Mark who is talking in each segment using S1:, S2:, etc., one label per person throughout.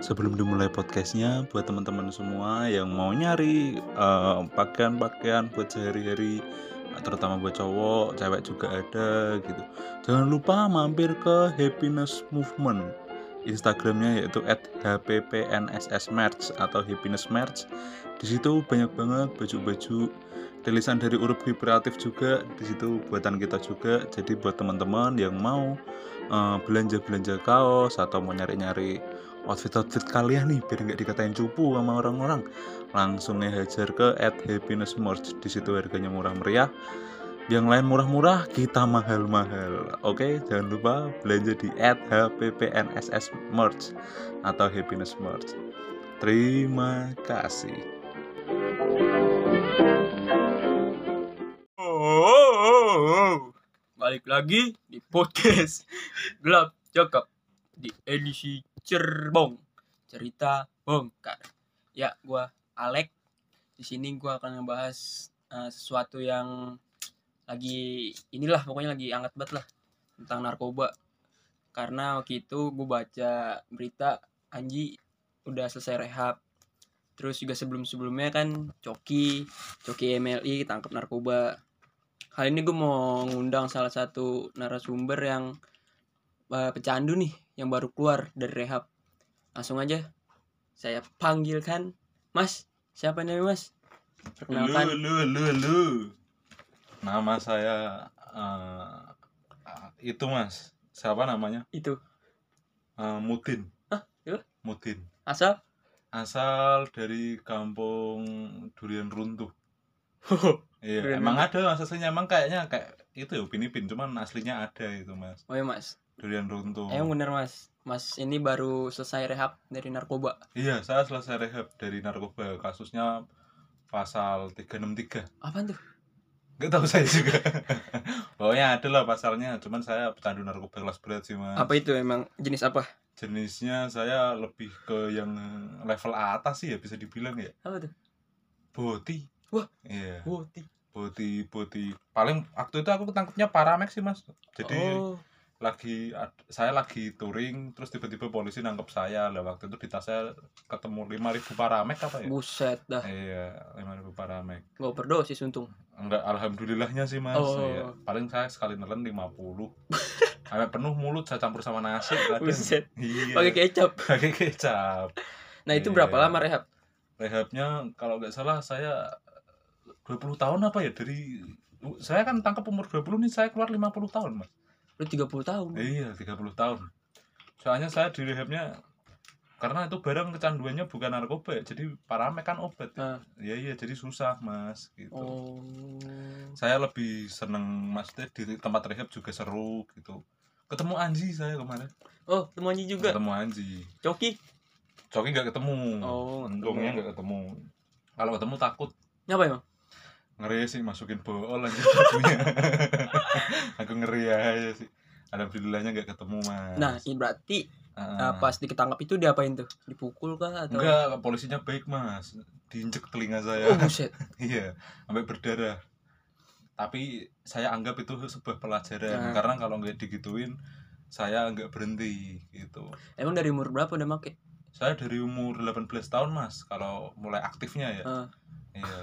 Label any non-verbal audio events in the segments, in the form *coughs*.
S1: sebelum dimulai podcastnya buat teman-teman semua yang mau nyari eh, pakaian-pakaian buat sehari-hari terutama buat cowok, cewek juga ada gitu. Jangan lupa mampir ke Happiness Movement Instagramnya yaitu @hppnssmerch atau happiness merch. Di situ banyak banget baju-baju tulisan dari urup kreatif juga di situ buatan kita juga. Jadi buat teman-teman yang mau eh, belanja-belanja kaos atau mau nyari-nyari outfit-outfit kalian nih biar nggak dikatain cupu sama orang-orang langsung nih hajar ke at happiness merch di situ harganya murah meriah yang lain murah-murah kita mahal-mahal oke jangan lupa belanja di at hppnss merch atau happiness merch terima kasih
S2: Balik lagi di podcast *laughs* Gelap Cakap di edisi Cerbong cerita bongkar. Ya, gua Alek. Di sini gua akan ngebahas eh, sesuatu yang lagi inilah pokoknya lagi hangat banget lah tentang narkoba. Karena waktu itu gue baca berita Anji udah selesai rehab. Terus juga sebelum-sebelumnya kan Coki, Coki MLI tangkap narkoba kali ini gue mau ngundang salah satu narasumber yang eh, pecandu nih yang baru keluar dari rehab langsung aja saya panggilkan mas siapa namanya mas perkenalkan
S1: lu lu lu nama saya eh, itu mas siapa namanya
S2: itu
S1: Eh, Mutin
S2: Hah, siapa?
S1: Mutin
S2: asal *laughs*
S1: asal dari kampung durian runtuh
S2: Durian
S1: iya emang ada aslinya emang kayaknya kayak itu ya upin ipin cuman aslinya ada itu mas
S2: oh ya mas
S1: durian runtuh
S2: emang bener mas mas ini baru selesai rehab dari narkoba
S1: iya saya selesai rehab dari narkoba kasusnya pasal 363
S2: apa tuh
S1: Gak tahu saya juga *laughs* Pokoknya ada lah pasalnya Cuman saya pecandu narkoba kelas berat sih mas
S2: apa itu emang jenis apa
S1: Jenisnya saya lebih ke yang level atas sih ya bisa dibilang ya
S2: apa tuh
S1: Boti
S2: Wah.
S1: Iya
S2: Woti.
S1: Boti, boti. Paling waktu itu aku ketangkepnya Paramex sih, Mas. Jadi
S2: oh
S1: lagi ad- saya lagi touring terus tiba-tiba polisi nangkep saya. Lah waktu itu di tas saya ketemu 5000 Paramex apa ya?
S2: buset dah
S1: Iya, 5000 Paramex.
S2: nggak overdosis untung
S1: Enggak alhamdulillahnya sih, Mas.
S2: Oh.
S1: Iya. Paling saya sekali nelen
S2: *laughs*
S1: 50. Sampai penuh mulut saya campur sama nasi kadang.
S2: buset
S1: Iya.
S2: pakai kecap
S1: Pakai kecap.
S2: nah itu
S1: Iya.
S2: berapa lama rehab
S1: Rehabnya kalau nggak salah saya 20 tahun apa ya dari saya kan tangkap umur 20 nih saya keluar 50 tahun, Mas.
S2: lu 30 tahun
S1: Iya, 30 tahun. Soalnya saya di rehabnya karena itu barang kecanduannya bukan narkoba, ya, jadi paramek kan obat.
S2: Ah.
S1: ya Iya, iya, jadi susah, Mas, gitu.
S2: Oh.
S1: Saya lebih seneng Mas Teh di tempat rehab juga seru gitu. Ketemu Anji saya kemarin.
S2: Oh, temuannya juga.
S1: Ketemu Anji.
S2: Coki.
S1: Coki nggak ketemu.
S2: Oh, nggak
S1: untungnya
S2: ketemu.
S1: Hmm. nggak ketemu. Kalau ketemu takut
S2: Nyapa emang?
S1: ngeri sih masukin bool
S2: *laughs*
S1: anjir bajunya. Aku ngeri aja sih. Alhamdulillahnya nggak ketemu, Mas.
S2: Nah, ini berarti
S1: Ah.
S2: uh, pas diketangkap itu diapain tuh? Dipukul kah atau?
S1: Enggak, polisinya baik mas Diinjek telinga
S2: Oh,
S1: saya
S2: buset.
S1: *laughs* Iya, sampai berdarah Tapi saya anggap itu sebuah
S2: Nah.
S1: pelajaran Karena kalau nggak digituin Saya nggak berhenti gitu
S2: Emang dari umur berapa udah make?
S1: Saya dari umur 18 tahun mas Kalau mulai aktifnya ya
S2: Ah.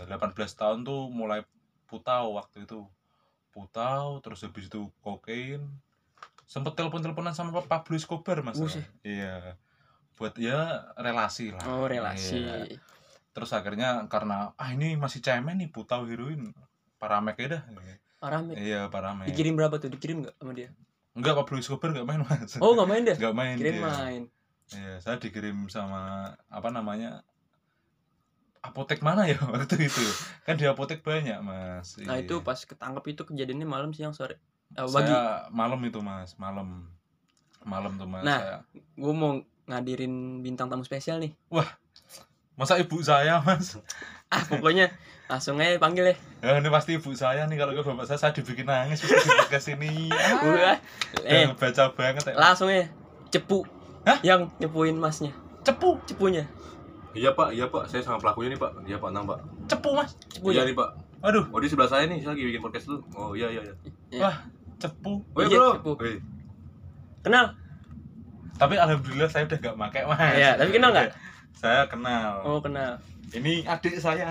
S1: Iya, 18 tahun tuh mulai putau waktu itu Putau, terus habis itu kokain Sempet telepon-teleponan sama Pablo Escobar mas
S2: Buset.
S1: Iya Buat ya relasi lah
S2: Oh, relasi.
S1: Iya. terus akhirnya karena ah ini masih cemen nih putau heroin paramek aja dah
S2: Parah, Mi.
S1: iya paramek
S2: Dikirim berapa tuh? Dikirim enggak sama dia?
S1: enggak Pablo Escobar enggak main mas
S2: Oh, enggak main deh.
S1: enggak main
S2: Kirim
S1: dia.
S2: main.
S1: iya saya dikirim sama apa namanya apotek mana ya *laughs* waktu itu kan di apotek banyak mas
S2: Nah,
S1: Iya.
S2: itu pas ketangkap itu kejadiannya malam siang sore. Eh, pagi.
S1: saya malam itu mas malam malam tuh mas
S2: Nah.
S1: saya.
S2: Gue mau ngadirin bintang tamu spesial nih. *laughs*
S1: masa ibu saya mas
S2: Ah, pokoknya langsung aja panggil ya.
S1: ya, ini pasti ibu saya nih kalau ke bapak saya saya dibikin nangis pas di podcast ini ah,
S2: Wah. *laughs* Eh,
S1: baca banget ya.
S2: langsung aja. Cepu.
S1: Hah?
S2: Yang nyepuin masnya.
S1: cepu
S2: Cepunya.
S3: Iya pak, iya pak, saya sama pelakunya nih pak Iya pak, enam pak
S1: cepu mas
S3: Iya
S2: Cepunya.
S3: nih pak
S1: aduh
S3: Oh di sebelah saya nih, saya lagi bikin podcast dulu Oh iya iya iya
S1: Wah, cepu.
S3: Oh iya
S2: Iya,
S3: bro
S2: cepu.
S3: Wih,
S2: Kenal?
S1: Tapi alhamdulillah saya udah gak pakai mas.
S2: Iya, tapi kenal nggak?
S1: Saya kenal.
S2: Oh kenal.
S1: Ini adik saya.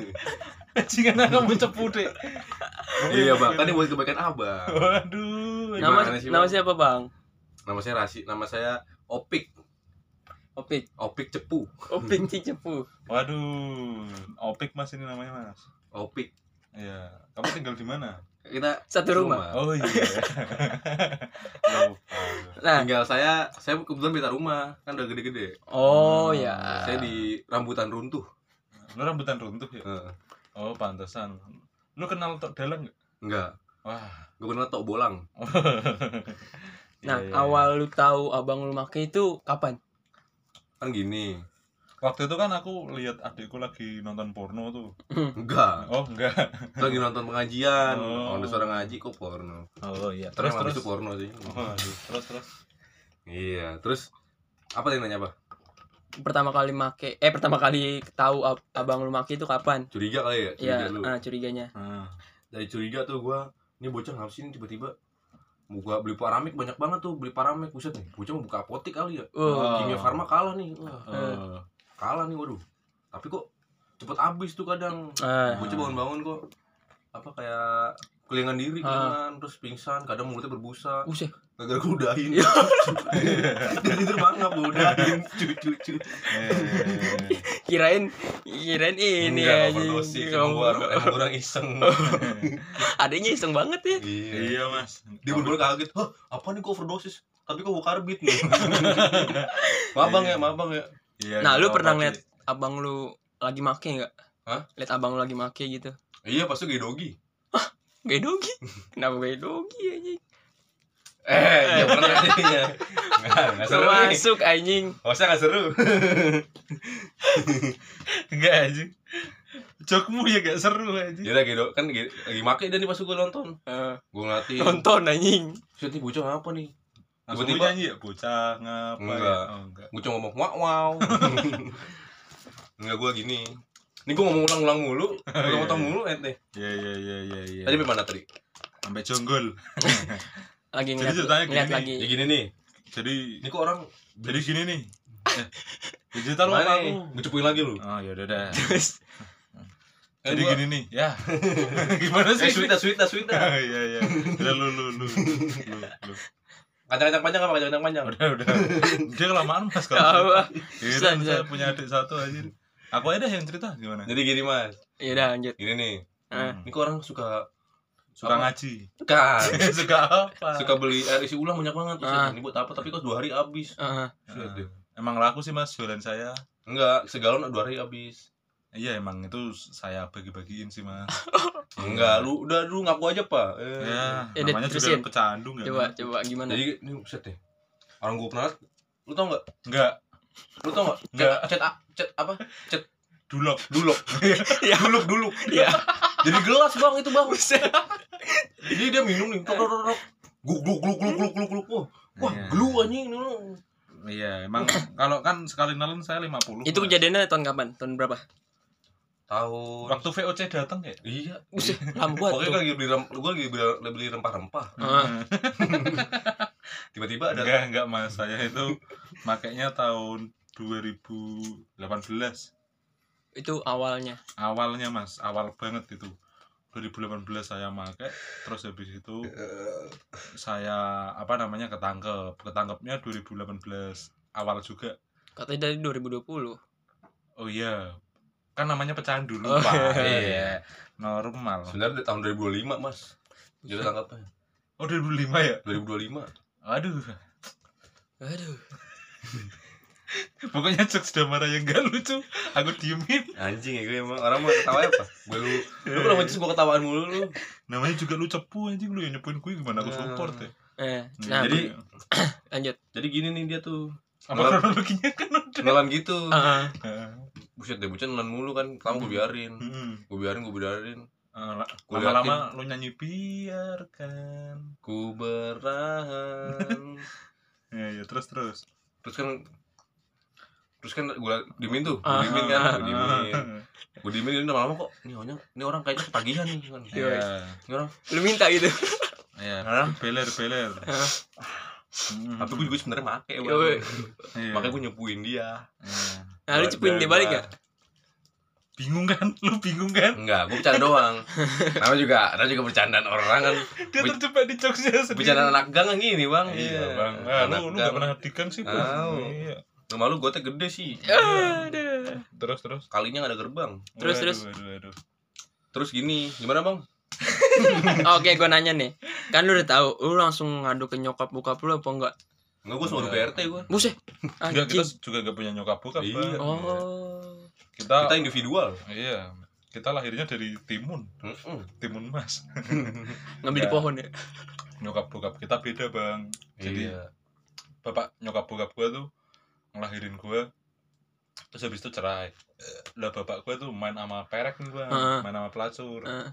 S1: *laughs* Jangan kamu cepu deh.
S3: *laughs* iya pak kan ini buat kebaikan abang
S1: Waduh.
S2: Nama
S3: Gimana sih,
S2: nama
S3: Bang?
S2: siapa bang?
S3: nama saya Rasi nama saya Opik
S2: Opik.
S3: Opik Cepu
S2: Opik Cicepu.
S1: Waduh. Opik mas ini namanya mas.
S3: Opik
S1: Iya. Kamu tinggal di mana?
S3: kita
S2: Satu rumah.
S1: Oh iya. *laughs* Lupa.
S2: Nah,
S3: tinggal saya saya kebetulan minta rumah kan udah gede-gede
S2: oh
S1: Hmm,
S2: ya.
S3: saya di rambutan runtuh Eh,
S1: Lu rambutan runtuh ya?
S3: Heeh.
S1: Oh pantesan. Lu kenal Tok Dalang nggak?
S3: enggak
S1: Wah.
S3: gue kenal tok bolang
S2: Nah,
S1: Iya, iya, iya.
S2: awal lu tahu abang lu make itu kapan? *clears throat*
S3: kan gini
S1: Waktu itu kan aku lihat adikku lagi nonton porno tuh.
S3: enggak
S1: Oh enggak.
S3: lagi nonton pengajian
S1: Oh.
S3: oh. ada suara ngaji kok porno
S1: Oh iya. Terus
S3: terus terus
S1: terus.
S3: itu porno sih
S1: Oh, aduh. terus terus.
S3: iya terus apa yang nanya apa
S2: Pertama kali make eh pertama kali tahu ab- abang lu make itu kapan?
S3: curiga kali ya curiga
S2: Ya,
S3: lu
S2: ah, curiganya.
S1: Nah.
S3: dari curiga tuh gua ini bocah ngapa sih ini tiba-tiba buka beli paramik banyak banget tuh beli paramik buset nih bocah mau buka apotek kali ya
S2: Oh,
S1: Oh.
S3: kimia farma kalah nih Wah,
S1: Oh.
S3: kalah nih waduh tapi kok cepet habis tuh kadang
S2: ah,
S3: bocah bangun-bangun kok apa kayak kelingan diri
S2: Ah.
S3: kan terus pingsan kadang mulutnya berbusa
S2: Usai.
S3: gara-gara udahin
S2: Iya.
S3: *laughs*
S2: Eh.
S3: jadi terbang nggak udahin cucu-cucu
S1: *laughs* Eh.
S2: Kirain kirain ini
S3: Enggak,
S2: anjing.
S3: overdosis emang
S2: *laughs*
S3: gua orang- emang orang iseng
S2: Adanya iseng banget ya.
S1: *laughs*
S3: iya
S1: Iya mas.
S3: dia bener kaget hah apa nih gue overdosis tapi kok gue karbit *laughs* nih maaf bang ya maaf bang ya
S1: Iya,
S2: Nah, lu
S1: nggak
S2: pernah
S1: apa-apa
S2: ngeliat
S1: sih.
S2: abang lu lagi make enggak?
S3: Hah?
S2: Lihat abang lu lagi make gitu.
S3: iya pas itu kayak dogi
S2: Gaya
S3: *laughs*
S2: dogi. Kenapa gaya dogi anjing?
S3: eh iya *laughs* pernah jadinya nggak nggak seru nih
S2: Masuk anjing.
S3: hostnya Oh, nggak seru
S1: *laughs* Enggak aja. Jokmu ya gak seru aja.
S3: dia lagi do kan lagi, lagi make dan pas gue nonton
S2: Eh,
S3: gue ngeliatin
S2: nonton anjing.
S3: set nih bocah apa nih
S1: Langsung lu
S3: Tiba-tiba-
S1: nyanyi ya bocah ngapa
S3: Enggak.
S1: ya? Oh, enggak.
S3: bocah ngomong wow *laughs* wow nggak gue gini ini gue ngomong ulang-ulang *laughs* mulu potong-potong mulu ente
S1: Iya iya iya iya iya.
S3: tadi sampai mana tadi
S1: sampai jonggol.
S2: Lagi
S1: Jadi
S2: ngeliat,
S1: ceritanya gini
S2: ngeliat
S1: nih.
S2: lagi.
S3: ya gini nih
S1: Jadi
S3: ini kok orang
S1: jadi gini nih. Eh, Jadi taruh sama
S3: Gimana nih?
S1: aku.
S3: Gua cepuin lagi lu
S1: Oh ya udah dah.
S2: Terus
S3: Kan
S1: Jadi
S3: gua-
S1: gini nih,
S3: *laughs*
S1: ya. Gimana
S3: eh
S1: sih?
S3: sweet dah sweet dah sweet dah
S1: Ah, *laughs* Iya iya. Udah lu lu lu. Lu,
S3: *laughs*
S1: lu.
S3: kacang-kacang panjang apa kacang-kacang panjang
S1: Udah udah. Dia kelamaan Mas kalau.
S2: apa?
S1: Iya,
S2: Bisa,
S1: kan
S2: bisa.
S1: saya punya adik satu aja. Aku aja dah yang cerita gimana?
S3: jadi gini mas
S2: Ya udah lanjut.
S3: gini nih
S2: Ah.
S1: Hmm.
S3: ini kok orang suka
S1: Suka
S3: apa?
S1: ngaji. *laughs*
S3: kan
S1: Suka apa? Ah.
S3: suka beli air isi ulang banyak banget Terus,
S2: Ah.
S3: ini buat apa tapi kok dua hari habis
S2: Ah,
S3: Buset deh.
S1: Emang laku sih Mas jualan saya.
S3: enggak segalon dua hari habis
S1: Iya emang itu saya bagi-bagiin sih mas.
S3: enggak lu udah lu ngaku aja pak Eh.
S1: Ya,
S2: Ya,
S1: namanya
S2: terusin.
S1: juga pecandu nggak?
S2: coba coba gimana?
S3: jadi ini buset deh orang gua pernah lu tau nggak
S1: Enggak,
S3: lu tau nggak
S1: Enggak.
S3: cet a- cet apa
S1: dulok.
S3: duluk
S2: Ya.
S3: duluk duluk
S2: Ya.
S3: jadi gelas bang itu bang jadi dia minum nih tok tok tok tok. gluk gluk gluk gluk gluk gluk gluk wah wah
S1: Iya.
S3: gelu anjing ini lu.
S1: Iya,
S2: *coughs*
S1: emang kalau kan sekali nelen saya 50
S2: Itu
S1: Mas.
S2: kejadiannya tahun kapan? Tahun berapa?
S3: tahun
S1: Waktu VOC datang ya?
S3: iya
S2: Buset, lama
S1: kan-
S3: Pokoknya gue
S2: banget.
S3: lagi beli rem, gue lagi beli, beli rempah-rempah.
S1: Hmm. *laughs*
S2: Ah.
S3: Tiba-tiba ada
S1: enggak, enggak mas, saya itu makanya tahun 2018
S2: Itu awalnya.
S1: awalnya mas, awal banget itu 2018 saya make, terus habis itu
S3: eh,
S1: saya apa namanya ketangkep, ketangkepnya 2018 awal juga.
S2: Katanya dari 2020.
S1: Oh iya, kan namanya pecandu
S2: Oh,
S1: lupa.
S3: iya.
S1: iya. Normal.
S3: sebenarnya dari tahun 2025 mas. Jadi tangkapnya
S1: Oh 2005 ya?
S3: 2025.
S1: Aduh, *laughs*
S2: Aduh.
S1: pokoknya cek sudah marah yang gak lucu. Aku diemin.
S3: Anjing ya gue emang orang mau ketawa apa? Gue lu lu kalau ngecek gue ketawaan mulu lu.
S1: Namanya juga lu cepu anjing lu yang nyepuin gue gimana aku support ya.
S2: Eh, nah,
S3: Jadi-
S2: lanjut.
S3: Jadi gini nih dia tuh
S1: apa
S3: Nolak.
S1: kronologinya *laughs* kan udah.
S3: nelan gitu.
S2: Ah,
S3: Buset deh bocah nelan mulu kan. Pertama gue biarin,
S1: Mm-mm.
S3: gue biarin, gue biarin.
S1: Eh, la-
S3: Gua
S1: Hmm. Lama-lama lu nyanyi biarkan.
S3: Ku bertahan.
S1: Ya ya terus terus.
S3: Terus kan terus kan gue dimin tuh, gue
S2: Ah.
S3: dimin kan, gue
S1: *laughs*
S3: dimin,
S1: Ah.
S3: gue dimin ini lama-lama kok, ini orang, ini orang kayaknya ketagihan nih kan,
S1: Iya.
S3: ini orang
S2: lu minta gitu.
S1: Iya.
S3: Hah?
S1: Beler beler.
S2: Ah,
S1: Hmm.
S3: tapi gue juga sebenarnya make
S2: Iya,
S3: Bang.
S2: weh.
S3: makanya gue nyepuin dia
S2: Nah,
S1: Oh,
S2: lu
S3: Gua-
S2: cepuin
S3: gua-
S2: dia balik
S3: gua-
S2: gak?
S1: Iya. bingung kan lu bingung kan
S3: enggak gue bercanda doang namanya juga namanya juga bercandaan orang kan
S1: dia
S3: Bu-
S1: terjebak di jokesnya sendiri
S3: bercandaan anak gang kan gini bang
S1: iya bang
S3: Eh,
S1: ah, lu lu
S3: gang.
S1: gak pernah tikang sih
S3: Au.
S1: bang iya
S3: rumah lu gue gede sih
S2: Aduh.
S1: terus terus
S3: kalinya gak ada gerbang
S2: Terus, terus.
S1: Waduh, waduh, waduh.
S3: terus gini gimana bang
S2: Oke, gua nanya nih. Kan lu udah tahu, lu langsung ngadu ke nyokap bokap lu apa enggak?
S3: enggak gue suruh
S1: Enggak.
S3: BRT gue
S2: Buset.
S1: Enggak, kita
S2: Ah, Anjing.
S1: juga gak punya nyokap bokap Bang.
S3: Iya.
S2: Oh.
S1: kita,
S3: kita individual
S1: iya kita lahirnya dari timun
S3: Mm-mm.
S1: timun mas
S2: Ngambil di
S1: Ya.
S2: pohon ya.
S1: *laughs* nyokap bokap kita beda bang jadi
S3: Iya.
S1: bapak nyokap bokap gue tuh ngelahirin gue terus habis itu cerai lah bapak gue tuh main sama perek nih bang
S2: Heeh.
S1: main sama pelacur
S2: Heeh.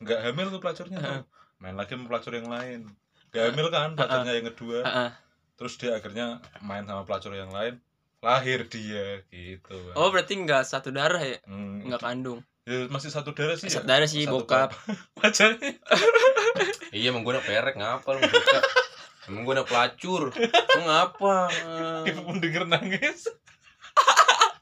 S1: nggak hamil tuh pelacurnya tuh
S2: Heeh.
S1: main lagi sama pelacur yang lain nggak hamil kan pelacurnya yang kedua
S2: Heeh.
S1: terus dia akhirnya main sama pelacur yang lain lahir dia gitu Bang.
S2: Oh, berarti enggak satu darah ya?
S1: Hmm,
S2: Enggak kandung.
S1: ya, masih satu darah sih
S2: Satu
S1: ya?
S2: darah sih
S1: Satu
S2: bokap.
S1: *laughs* wajahnya
S3: iya emang gue anak perek ngapa lu buka emang gue anak pelacur lu *laughs* ngapa
S1: ibu pun denger nangis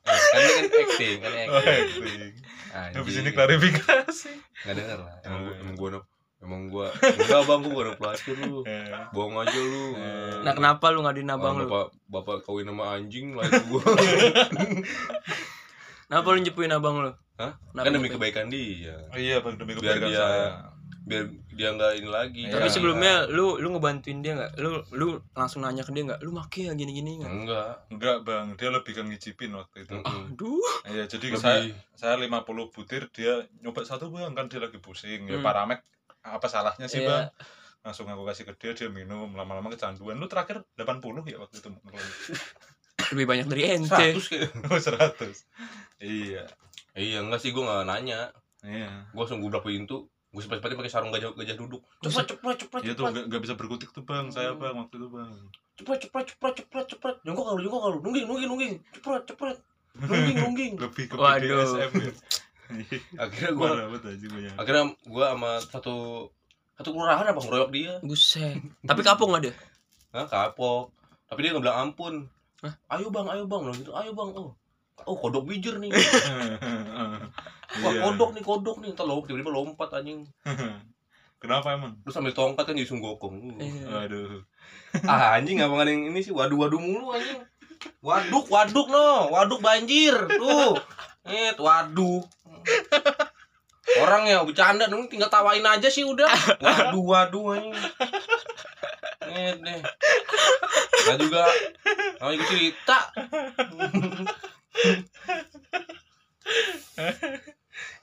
S3: Eh, kan lu kan acting kan
S1: Oh,
S3: acting
S1: acting.
S3: Anjing.
S1: habis ini klarifikasi
S3: nggak denger lah emang gue
S1: Eh.
S3: emang gue anak- Nah, emang gue enggak bang gue anak pelacur *laughs* lu
S1: Eh,
S3: bohong aja lu
S1: Eh.
S2: Nah, kenapa lu ngaduin abang
S3: Ah,
S2: lu? Iya,
S3: bapak bapak kawin sama anjing
S2: *laughs*
S3: lah itu gue
S2: Kenapa lu nyepuin abang lu?
S3: Hah?
S2: Kenapa
S3: kan demi
S2: nyepuin?
S3: kebaikan dia
S1: iya bang demi
S3: Biar
S1: kebaikan
S3: dia-
S1: saya
S3: biar dia nggak ini lagi
S1: Tapi
S2: Tapi
S1: Iya.
S2: sebelumnya lu lu ngebantuin dia nggak? Lu lu langsung nanya ke dia nggak? Lu make ya gini-gini nggak?
S3: enggak
S1: enggak bang dia lebih ke ngicipin waktu itu
S2: Oh.
S3: Mm-mm.
S2: Aduh.
S1: Iya, jadi
S3: Lebih-
S1: saya saya 50 butir dia nyoba satu bang kan dia lagi pusing. Ya
S2: Hmm.
S1: paramek apa salahnya sih,
S2: Iya.
S1: Bang? Langsung aku kasih ke dia, dia minum lama-lama kecanduan. Lu terakhir 80 ya waktu itu.
S2: *laughs* Lebih banyak dari ente.
S3: seratus kayak
S1: Oh, 100. Iya.
S3: iya enggak sih gue nggak nanya
S1: Iya.
S3: gue langsung gue pintu gue sepet-sepetin pakai sarung gajah gajah duduk cepet cepet cepet
S1: Dia tuh
S3: cepet
S1: nggak nggak bisa berkutik tuh, Bang. Saya,
S2: Hmm.
S1: Bang, waktu itu, Bang.
S3: cepet cepet cepet cepet cepet jongkok kalau jongkok kalau nungging nungging nungging cepet cepet nungging *laughs* nungging
S1: Lebih ke
S2: Waduh.
S1: BDSM. ya.
S2: *laughs*
S3: akhirnya gue
S1: Gua ya. dapat aja banyak.
S3: akhirnya gue sama satu satu kelurahan apa ngeroyok dia
S2: Buset. Tapi kapok nggak dia?
S3: Hah, kapok tapi dia nggak bilang ampun
S2: Hah?
S3: ayo bang ayo bang loh gitu ayo bang oh oh kodok bijir
S2: *laughs*
S3: nih
S1: *laughs*
S3: wah
S1: Iya.
S3: kodok nih kodok nih ntar lompat tiba-tiba lompat anjing
S1: Kenapa emang?
S3: terus sambil tongkat kan jadi sunggokong
S2: Iya.
S1: Waduh.
S3: ah anjing nggak makan yang ini sih waduh waduh mulu anjing waduk waduk no waduk banjir tuh eh waduh orang ya bercanda dong tinggal tawain aja sih udah waduh waduh anjing eh deh nah juga mau ikut cerita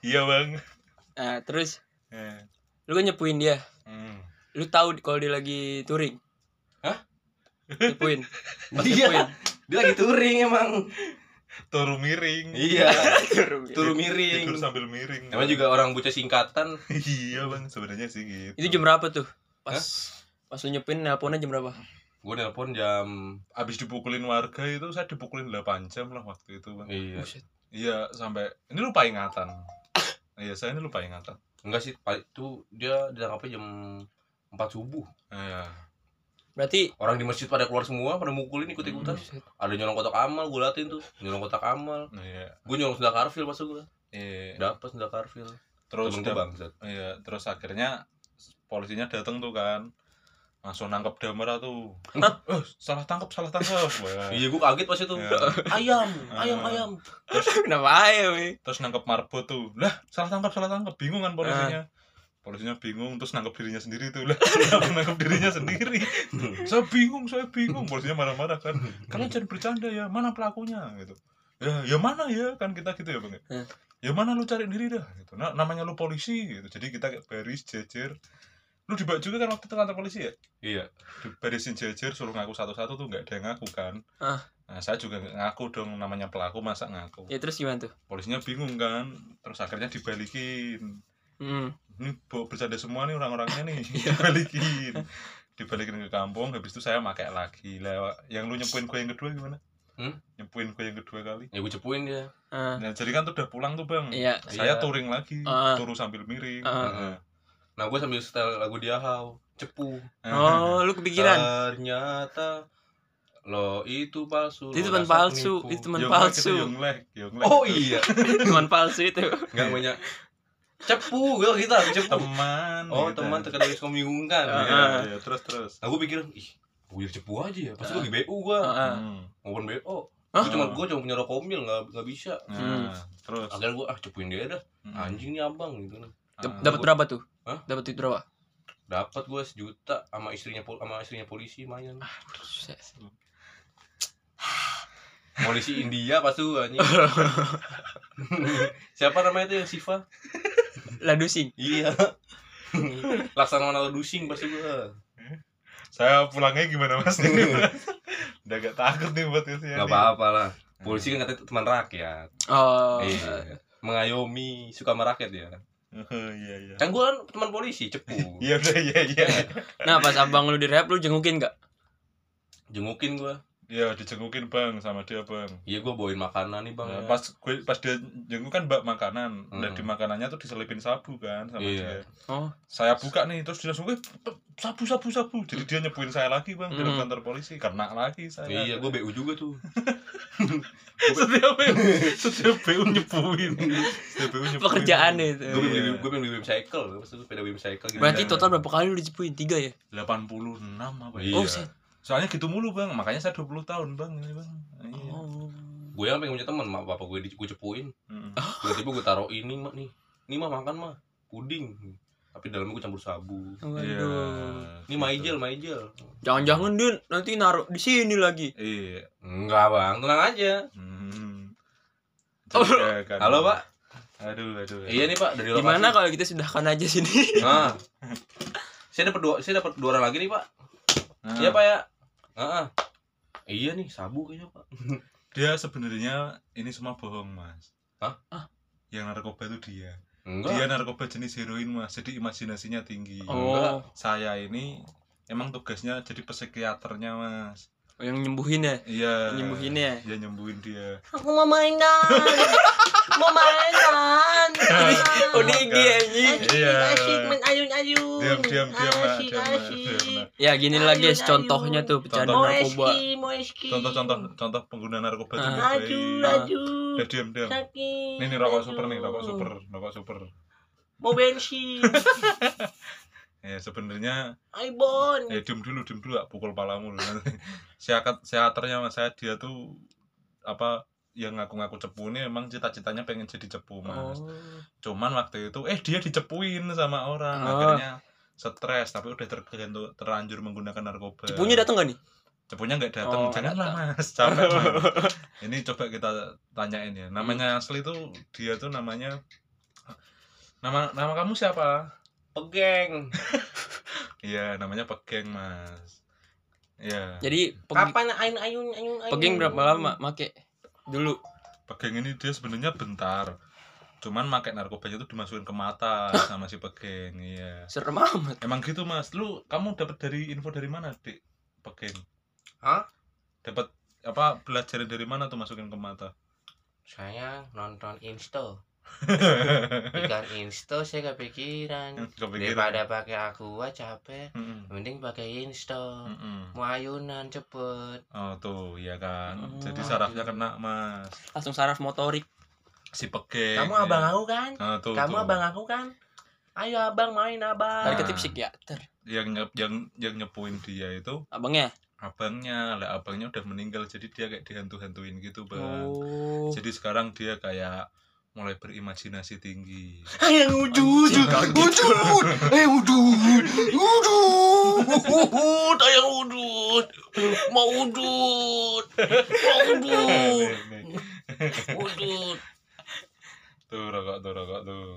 S1: Iya, Bang.
S2: Nah, terus
S1: Eh,
S2: lu kan nyepuin dia.
S1: hmm.
S2: Lu tahu di- kalau dia lagi touring.
S3: Hah?
S2: Nyepuin. Pas
S3: *laughs* iya
S2: nyepuin.
S3: dia lagi touring emang
S1: Turu miring.
S3: iya
S2: Touring.
S3: turu miring
S1: Tidur sambil miring.
S3: emang juga orang bocah singkatan
S1: *laughs* iya bang sebenarnya sih gitu
S2: Itu jam berapa tuh? Pas pas lu nyepuin nelponnya jam berapa?
S3: gue nelpon jam
S1: abis dipukulin warga itu saya dipukulin 8 jam lah waktu itu bang
S3: iya
S2: Buset.
S1: iya sampai ini lupa ingatan iya saya ini lupa ingatan
S3: Enggak sih, Pak, itu dia ditangkapnya jam 4 subuh.
S1: iya
S2: Berarti
S3: Orang di masjid pada keluar semua, pada mukulin ikut-ikutan.
S2: Buset.
S3: Ada nyolong kotak amal, gue latin tuh. Nyolong kotak amal.
S1: iya
S3: Gue nyolong sendal karfil pas gue.
S1: iya
S3: Dapat sendal karfil.
S1: terus
S3: Temen gue
S1: dia-
S3: bangsat.
S1: iya terus akhirnya polisinya datang tuh kan langsung nangkep damara tuh eh salah tangkap salah tangkap Wah.
S3: *laughs* Iya, gue kaget pas itu.
S1: Eh. Iya.
S3: Ayam, ayam,
S1: Ah.
S3: ayam.
S2: *laughs* kenapa aja, weh?
S1: terus nangkep marbot tuh lah salah tangkap salah tangkap bingung kan polisinya
S2: Ah.
S1: polisinya bingung terus nangkep dirinya sendiri tuh lah *laughs* kenapa nangkep dirinya
S2: *laughs*
S1: sendiri saya bingung saya bingung polisinya marah-marah kan
S2: Hmm.
S1: kalian jangan bercanda ya mana pelakunya gitu ya ya mana ya kan kita gitu ya bang ya?
S2: Hmm.
S1: ya mana lu cari diri dah gitu nah namanya lu polisi gitu jadi kita kayak baris jejer lu dibak juga kan waktu itu kantor polisi ya
S3: *laughs* Iya.
S1: barisin jejer suruh ngaku satu-satu tuh nggak ada yang ngaku kan
S2: Ah.
S1: nah saya juga nggak ngaku dong namanya pelaku masa ngaku
S2: Ya terus gimana tuh?
S1: polisinya bingung kan terus akhirnya dibalikin
S2: Hmm.
S1: ini bawa bercanda semua nih orang-orangnya
S2: *laughs*
S1: nih
S2: Iya.
S1: dibalikin dibalikin ke kampung habis itu saya pakai lagi lah yang lu nyepuin gue yang kedua gimana
S3: Hmm?
S1: nyepuin gue yang kedua kali
S3: Ya gue cepuin dia.
S2: Ah,
S1: nah jadi kan tuh udah pulang tuh bang
S2: iya.
S1: saya
S3: Iya.
S1: touring lagi
S2: Ah.
S1: turu sambil miring
S2: Ah.
S1: Nah,
S3: Nah gue sambil setel lagu dia how cepu.
S2: Oh, lu kepikiran.
S3: Ternyata lo itu palsu.
S2: itu
S3: lo
S2: teman
S3: dasar
S2: palsu, itu
S3: Eh, penipu. Iya,
S2: Oh,
S1: nah.
S2: teman
S1: Yonglek itu
S2: palsu.
S1: Yonglek, Yonglek
S3: Oh
S1: itu.
S3: iya,
S2: Teman palsu *laughs* itu.
S3: nggak banyak. Cepu, gue kita cepu.
S1: teman.
S3: Oh
S1: gitu.
S3: teman terkadang suka membingungkan.
S1: Iya,
S3: ya.
S2: Heeh.
S1: iya, terus terus.
S3: Nah gue pikir, ih gue cepu aja ya. Pas gue di BU gue,
S2: Heeh.
S1: Hmm.
S3: ngomong BO.
S2: Hah?
S3: Gue cuma gue cuma punya rokomil nggak nggak bisa.
S1: Nah,
S2: Hmm.
S1: terus.
S3: Akhirnya gue ah cepuin dia dah.
S1: Hmm.
S3: Anjing nih abang gitu.
S1: Ah.
S2: Dapat berapa tuh?
S3: Hah?
S2: Dapat duit berapa?
S3: Dapat gue sejuta sama istrinya pol sama istrinya polisi main. Polisi India pas tuh
S2: *laughs*
S3: anjing. Siapa namanya itu yang Siva?
S2: Ladusing.
S3: Iya. Laksamana Ladusing pas gue.
S1: Saya pulangnya gimana
S3: *laughs*
S1: Mas? Udah agak takut nih buat ya. kesini.
S3: Gak
S1: *laughs*
S3: apa-apa lah. Polisi kan katanya teman rakyat.
S2: Oh.
S3: Iya. Mengayomi suka sama rakyat ya.
S1: Iya iya.
S3: Kan gue kan teman polisi cepu.
S1: Iya udah iya iya.
S2: Nah, pas abang lu direhab lu jengukin gak?
S3: Jengukin gue.
S1: Iya dijengukin Bang sama dia Bang.
S3: Iya gue bawain makanan nih bang.
S1: Nah, pas gue- pas dia jenguk kan bak makanan dan
S3: Oh, iya. Hmm.
S1: di makanannya tuh diselipin sabu kan sama
S3: Iya.
S1: dia
S2: Oh.
S1: saya buka nih terus dia langsung "Eh, sabu sabu sabu jadi dia nyebuin saya lagi bang
S2: Hmm.
S1: di kantor polisi kena lagi saya
S3: Iya gue BU juga tuh.
S1: *laughs* setiap setiap BU
S3: *laughs*
S1: nyebuin setiap BU nyebuin
S2: Pekerjaan itu.
S3: Gue
S1: Iya.
S3: pengen gue pengen BBM cycle. Pas itu sepeda BBM cycle gitu.
S2: Berarti total berapa kali lu dicepuin? Tiga ya?
S1: 86 apa ya
S3: Iya.
S2: Oh, set.
S1: soalnya gitu mulu bang makanya saya 20 tahun bang ini bang iya
S2: Oh.
S3: gue yang pengen punya teman mak bapak gue di gue cepuin
S1: Mm-mm.
S3: tiba-tiba gue taruh ini mak nih ini mah makan mah puding tapi dalamnya gue campur sabu
S1: Iya,
S2: Waduh.
S3: ini
S1: gitu.
S3: maijel maijel
S2: Jangan-jangan Din, nanti naruh di sini lagi.
S1: iya
S3: enggak bang tenang aja
S1: Hmm.
S2: Oh.
S1: Jadi, kan.
S3: halo pak
S1: aduh aduh
S3: iya nih pak dari lokasi
S2: Gimana kalau kita sudahkan aja sini?
S3: nah saya dapat dua saya dapat dua orang lagi nih pak
S1: Nah,
S3: iya pak ya Heeh. iya nih sabu kayaknya pak
S1: dia sebenarnya ini semua bohong mas
S3: Hah?
S2: Ah.
S1: yang narkoba itu dia dia
S3: enggak
S1: narkoba jenis heroin mas jadi imajinasinya tinggi
S3: Iya.
S2: Oh,
S1: saya ini emang tugasnya jadi psikiaternya mas
S2: yang nyembuhin ya?
S1: iya
S2: Yang nyembuhin ya?
S1: iya nyembuhin dia
S2: Aku mau mainan. *laughs* mau mainan.
S3: Iya,
S1: Oh,
S2: Oding dia anjing.
S1: iya
S4: ayun-ayun.
S1: diam diam diam Mas.
S4: Asyik,
S1: Diam, Mas.
S4: asyik.
S1: Diam, Mas.
S2: Ya gini lah guys,
S4: Ayun,
S2: contohnya
S4: ayun.
S2: tuh pecandu
S1: Contoh.
S2: narkoba.
S4: moeski.
S1: contoh-contoh contoh pengguna narkoba tuh
S2: Ah.
S1: baik.
S4: Laju, laju.
S1: udah diam diam
S4: Sakit.
S1: ini nih rokok super nih
S4: aduh.
S1: rokok super rokok super *laughs*
S4: Mau bensin.
S1: ya sebenarnya
S4: Aibon.
S1: eh diam dulu diam dulu gak pukul palamu lu siakat siaternya mas saya dia tuh apa yang ngaku-ngaku cepu ini emang cita-citanya pengen jadi cepu mas
S2: Oh.
S1: cuman waktu itu eh dia dicepuin sama orang
S2: Oh.
S1: akhirnya stres tapi udah tergantung terlanjur menggunakan narkoba
S2: Cepunya datang gak nih?
S1: cepunya nggak datang
S2: Oh, nggak
S1: janganlah mas
S2: *laughs*
S1: capek Mas. ini coba kita tanyain ya namanya asli tuh dia tuh namanya nama nama kamu siapa
S2: Oh,
S3: pegeng
S1: iya namanya pegeng mas iya
S4: Ya.
S2: Jadi peg-
S4: Kapan ayun ayun ayun ayun.
S2: peging berapa lama make? Dulu.
S1: pegeng ini dia sebenarnya bentar cuman pakai narkobanya tuh dimasukin ke
S4: *laughs*
S1: mata sama si pegeng iya
S2: Serem amat.
S1: Emang gitu mas, lu kamu dapat dari info dari mana dik? Pegeng?
S3: Hah?
S1: Dapat apa belajarin dari mana tuh masukin ke mata?
S4: *laughs*
S3: saya nonton insta ikan insta saya kepikiran
S1: Kepikiran.
S3: pakai aqua capek
S1: Mm-mm.
S3: mending pakai insta
S1: Mm-mm.
S3: mau ayunan cepet
S1: Oh tuh, ya kan.
S2: Oh,
S1: Jadi sarafnya
S4: iya.
S3: aduh.
S1: kena mas.
S2: Langsung saraf motorik.
S1: Si pegeng.
S4: Kamu
S1: ya.
S4: abang aku kan?
S1: Ah, Eh, tuh,
S4: Kamu
S1: tuh.
S4: abang aku kan? Ayo abang main abang.
S2: Tarik ke
S1: Ah.
S2: psikiater. ya?
S1: Yang nyep- yang yang nyepuin dia itu
S2: Abangnya.
S1: abangnya, lah abangnya udah meninggal jadi dia kayak dihantu-hantuin gitu bang.
S2: Oh.
S1: Jadi sekarang dia kayak mulai berimajinasi tinggi.
S4: Ayo
S1: *laughs*
S4: wujud.
S2: Jangan
S4: Wujud.
S2: Eh,
S4: Ayo wujud. Wujud. Ayo wujud. Mau wujud. Mau wujud.
S1: Nih, nih.
S4: Wujud.
S1: tuh rokok tuh rokok tuh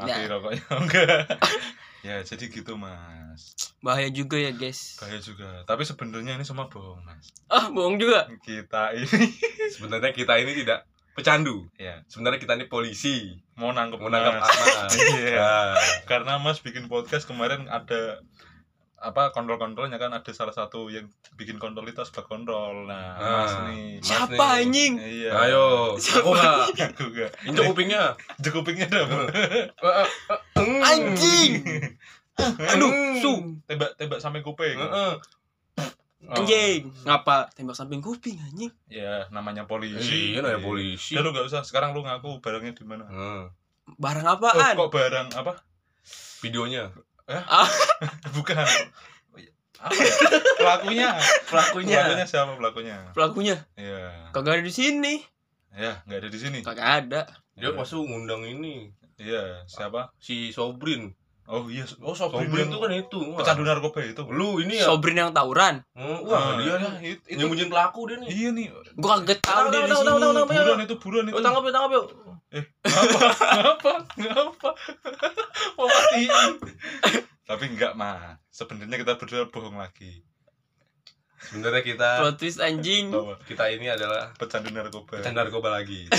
S2: Nah.
S1: mati rokoknya *laughs* enggak ya jadi gitu mas
S2: Bahaya juga ya guys.
S1: bahaya juga tapi sebenarnya ini semua bohong mas
S2: Ah bohong juga.
S1: kita ini *laughs*
S3: sebenarnya kita ini tidak pecandu
S1: ya
S3: sebenarnya kita ini polisi
S1: mau nangkep ah.
S3: Iya. *laughs* mau nangkap
S1: mas.
S3: anak
S1: *laughs* Iya.
S3: Nah,
S1: karena mas bikin podcast kemarin ada apa kontrol-kontrolnya kan ada salah satu yang bikin kontrol itu sebab kontrol nah
S3: Ah.
S1: mas nih
S3: Mas
S2: Siapa
S3: nih.
S2: anjing?
S1: iya
S3: Ayo, aku nggak
S1: aku gak
S3: injek kupingnya. Hmm.
S1: injek kupingnya dong
S2: Eh, Anjing. Aduh, su.
S1: tembak tembak sampai kuping Oh.
S3: Heeh. Iya.
S2: Anjing. Ngapa tembak samping kuping anjing?
S1: ya namanya polisi
S3: Iya, nanya polisi.
S1: ya lu gak usah sekarang lu ngaku barangnya di mana
S3: Heeh.
S2: Barang
S1: oh,
S2: apaan?
S1: kok barang apa *laughs*
S3: Videonya.
S1: bukan apa ya? pelakunya pelakunya
S2: Pelakunya.
S1: siapa pelakunya
S2: Pelakunya
S1: iya
S2: kagak ada di sini.
S1: ya nggak ada di sini
S2: Kagak ada.
S3: Dia pasti ngundang ini
S1: iya siapa
S3: si Sobrin.
S1: oh iya oh
S3: Sobrin
S1: yang
S3: itu kan itu. Wah.
S1: pecandu narkoba itu
S3: Lu ini ya.
S2: Sobrin yang tawuran.
S3: Heeh,
S1: Wah,
S3: Wah, dia
S1: ya,
S3: nih.
S1: itu, itu
S3: Nyembunyiin iya. pelaku dia nih.
S1: iya nih.
S2: Gua kagak tahu
S3: Tahu,
S2: dia di
S3: tahu,
S2: sini.
S3: tahu, tahu, tahu, tahu.
S1: Buruan itu, buruan itu.
S3: Yuk tangkap yuk, tangkap yuk.
S1: Ngapa? Ngapa? Mau matiin. Tapi enggak, Ma. Sebenarnya kita berdua bohong lagi.
S3: Sebenarnya kita
S2: Plot twist anjing.
S1: Bahwa
S3: kita ini adalah
S1: pecandu narkoba.
S3: pecandu narkoba *laughs* lagi.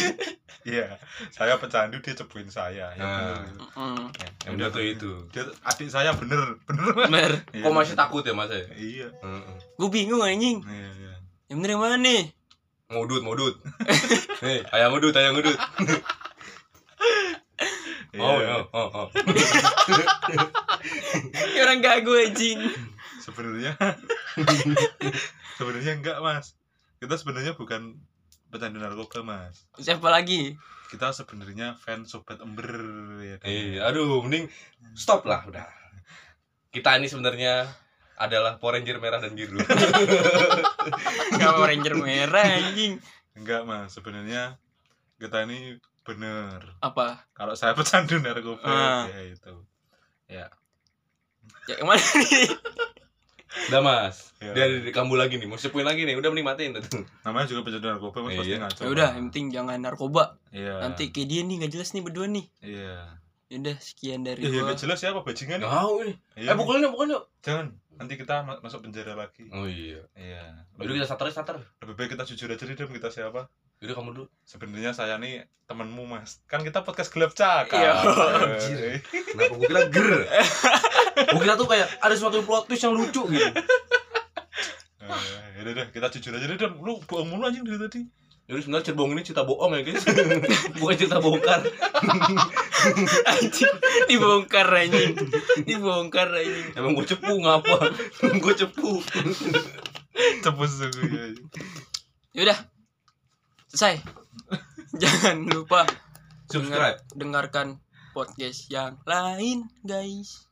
S1: Iya. Saya pecandu, dia cebuin saya. Ya
S3: Nah.
S1: bener.
S2: Mm-mm.
S1: Ya,
S3: Yang benar tuh itu.
S1: Dia adik saya bener, bener.
S2: Bener.
S1: *laughs* Iya.
S3: Kok masih takut ya, Mas? ya?
S1: Iya.
S3: Heeh.
S2: Gua bingung anjing.
S1: Iya, iya.
S2: Yang bener yang mana nih?
S3: Modut, *laughs* modut. Nih, ayam modut, ayam modut. Oh,
S1: Iya.
S3: oh, oh, oh.
S2: Ini Orang gagu anjing.
S1: Sebenarnya *laughs* sebenarnya enggak, Mas. Kita sebenarnya bukan pecandu narkoba, Mas.
S2: Siapa lagi?
S1: kita sebenarnya fans sobat ember ya kan?
S3: Iya, aduh, mending stop lah udah. Kita ini sebenarnya adalah Power Ranger merah dan *laughs* biru.
S2: Kamu Ranger merah anjing.
S1: enggak mas sebenarnya kita ini bener
S2: Apa?
S1: kalau saya *laughs* pecandu narkoba
S2: Ah.
S1: ya itu
S2: Ya, yang mana nih?
S3: Udah, Mas.
S1: Iya.
S3: Dia di kamu lagi nih, mau sepuin lagi nih. Udah mending matiin tuh.
S1: namanya juga pecandu narkoba mas pasti
S3: Iya.
S1: ngaco
S2: Ya udah, yang penting jangan narkoba.
S1: iya
S2: Nanti kayak dia nih nggak jelas nih berdua nih.
S1: iya
S2: Ya udah, sekian dari
S1: iya ya,
S2: gua.
S1: nggak jelas ya apa bajingan
S3: Mau ini.
S1: iya,
S3: Eh, pukulin yuk, pukulin yuk.
S1: jangan nanti kita ma- masuk penjara lagi
S3: Oh iya.
S1: iya
S3: Udah
S1: lebih,
S3: kita starter, starter.
S1: lebih baik kita jujur aja deh kita siapa
S3: Udah kamu dulu.
S1: sebenarnya saya nih temenmu mas kan kita podcast gelap cakap
S2: Iya.
S1: Eh,
S3: Kenapa gue kira ger? gue kira tuh kayak ada suatu plot twist yang lucu gitu.
S1: eh, ya udah deh, kita jujur aja deh Dem. lu bohong mulu anjing dari tadi
S3: Jadi Ya sebenarnya cerita bohong ini cerita bohong ya guys. Bukan cerita bongkar.
S2: Anjing, *laughs* dibongkar anjing. Dibongkar anjing.
S3: Emang gue cepu ngapa? gue cepu.
S1: cepet sungguh ya
S2: Yaudah Ya Selesai Jangan lupa
S3: Subscribe.
S2: dengar- Dengarkan podcast yang lain guys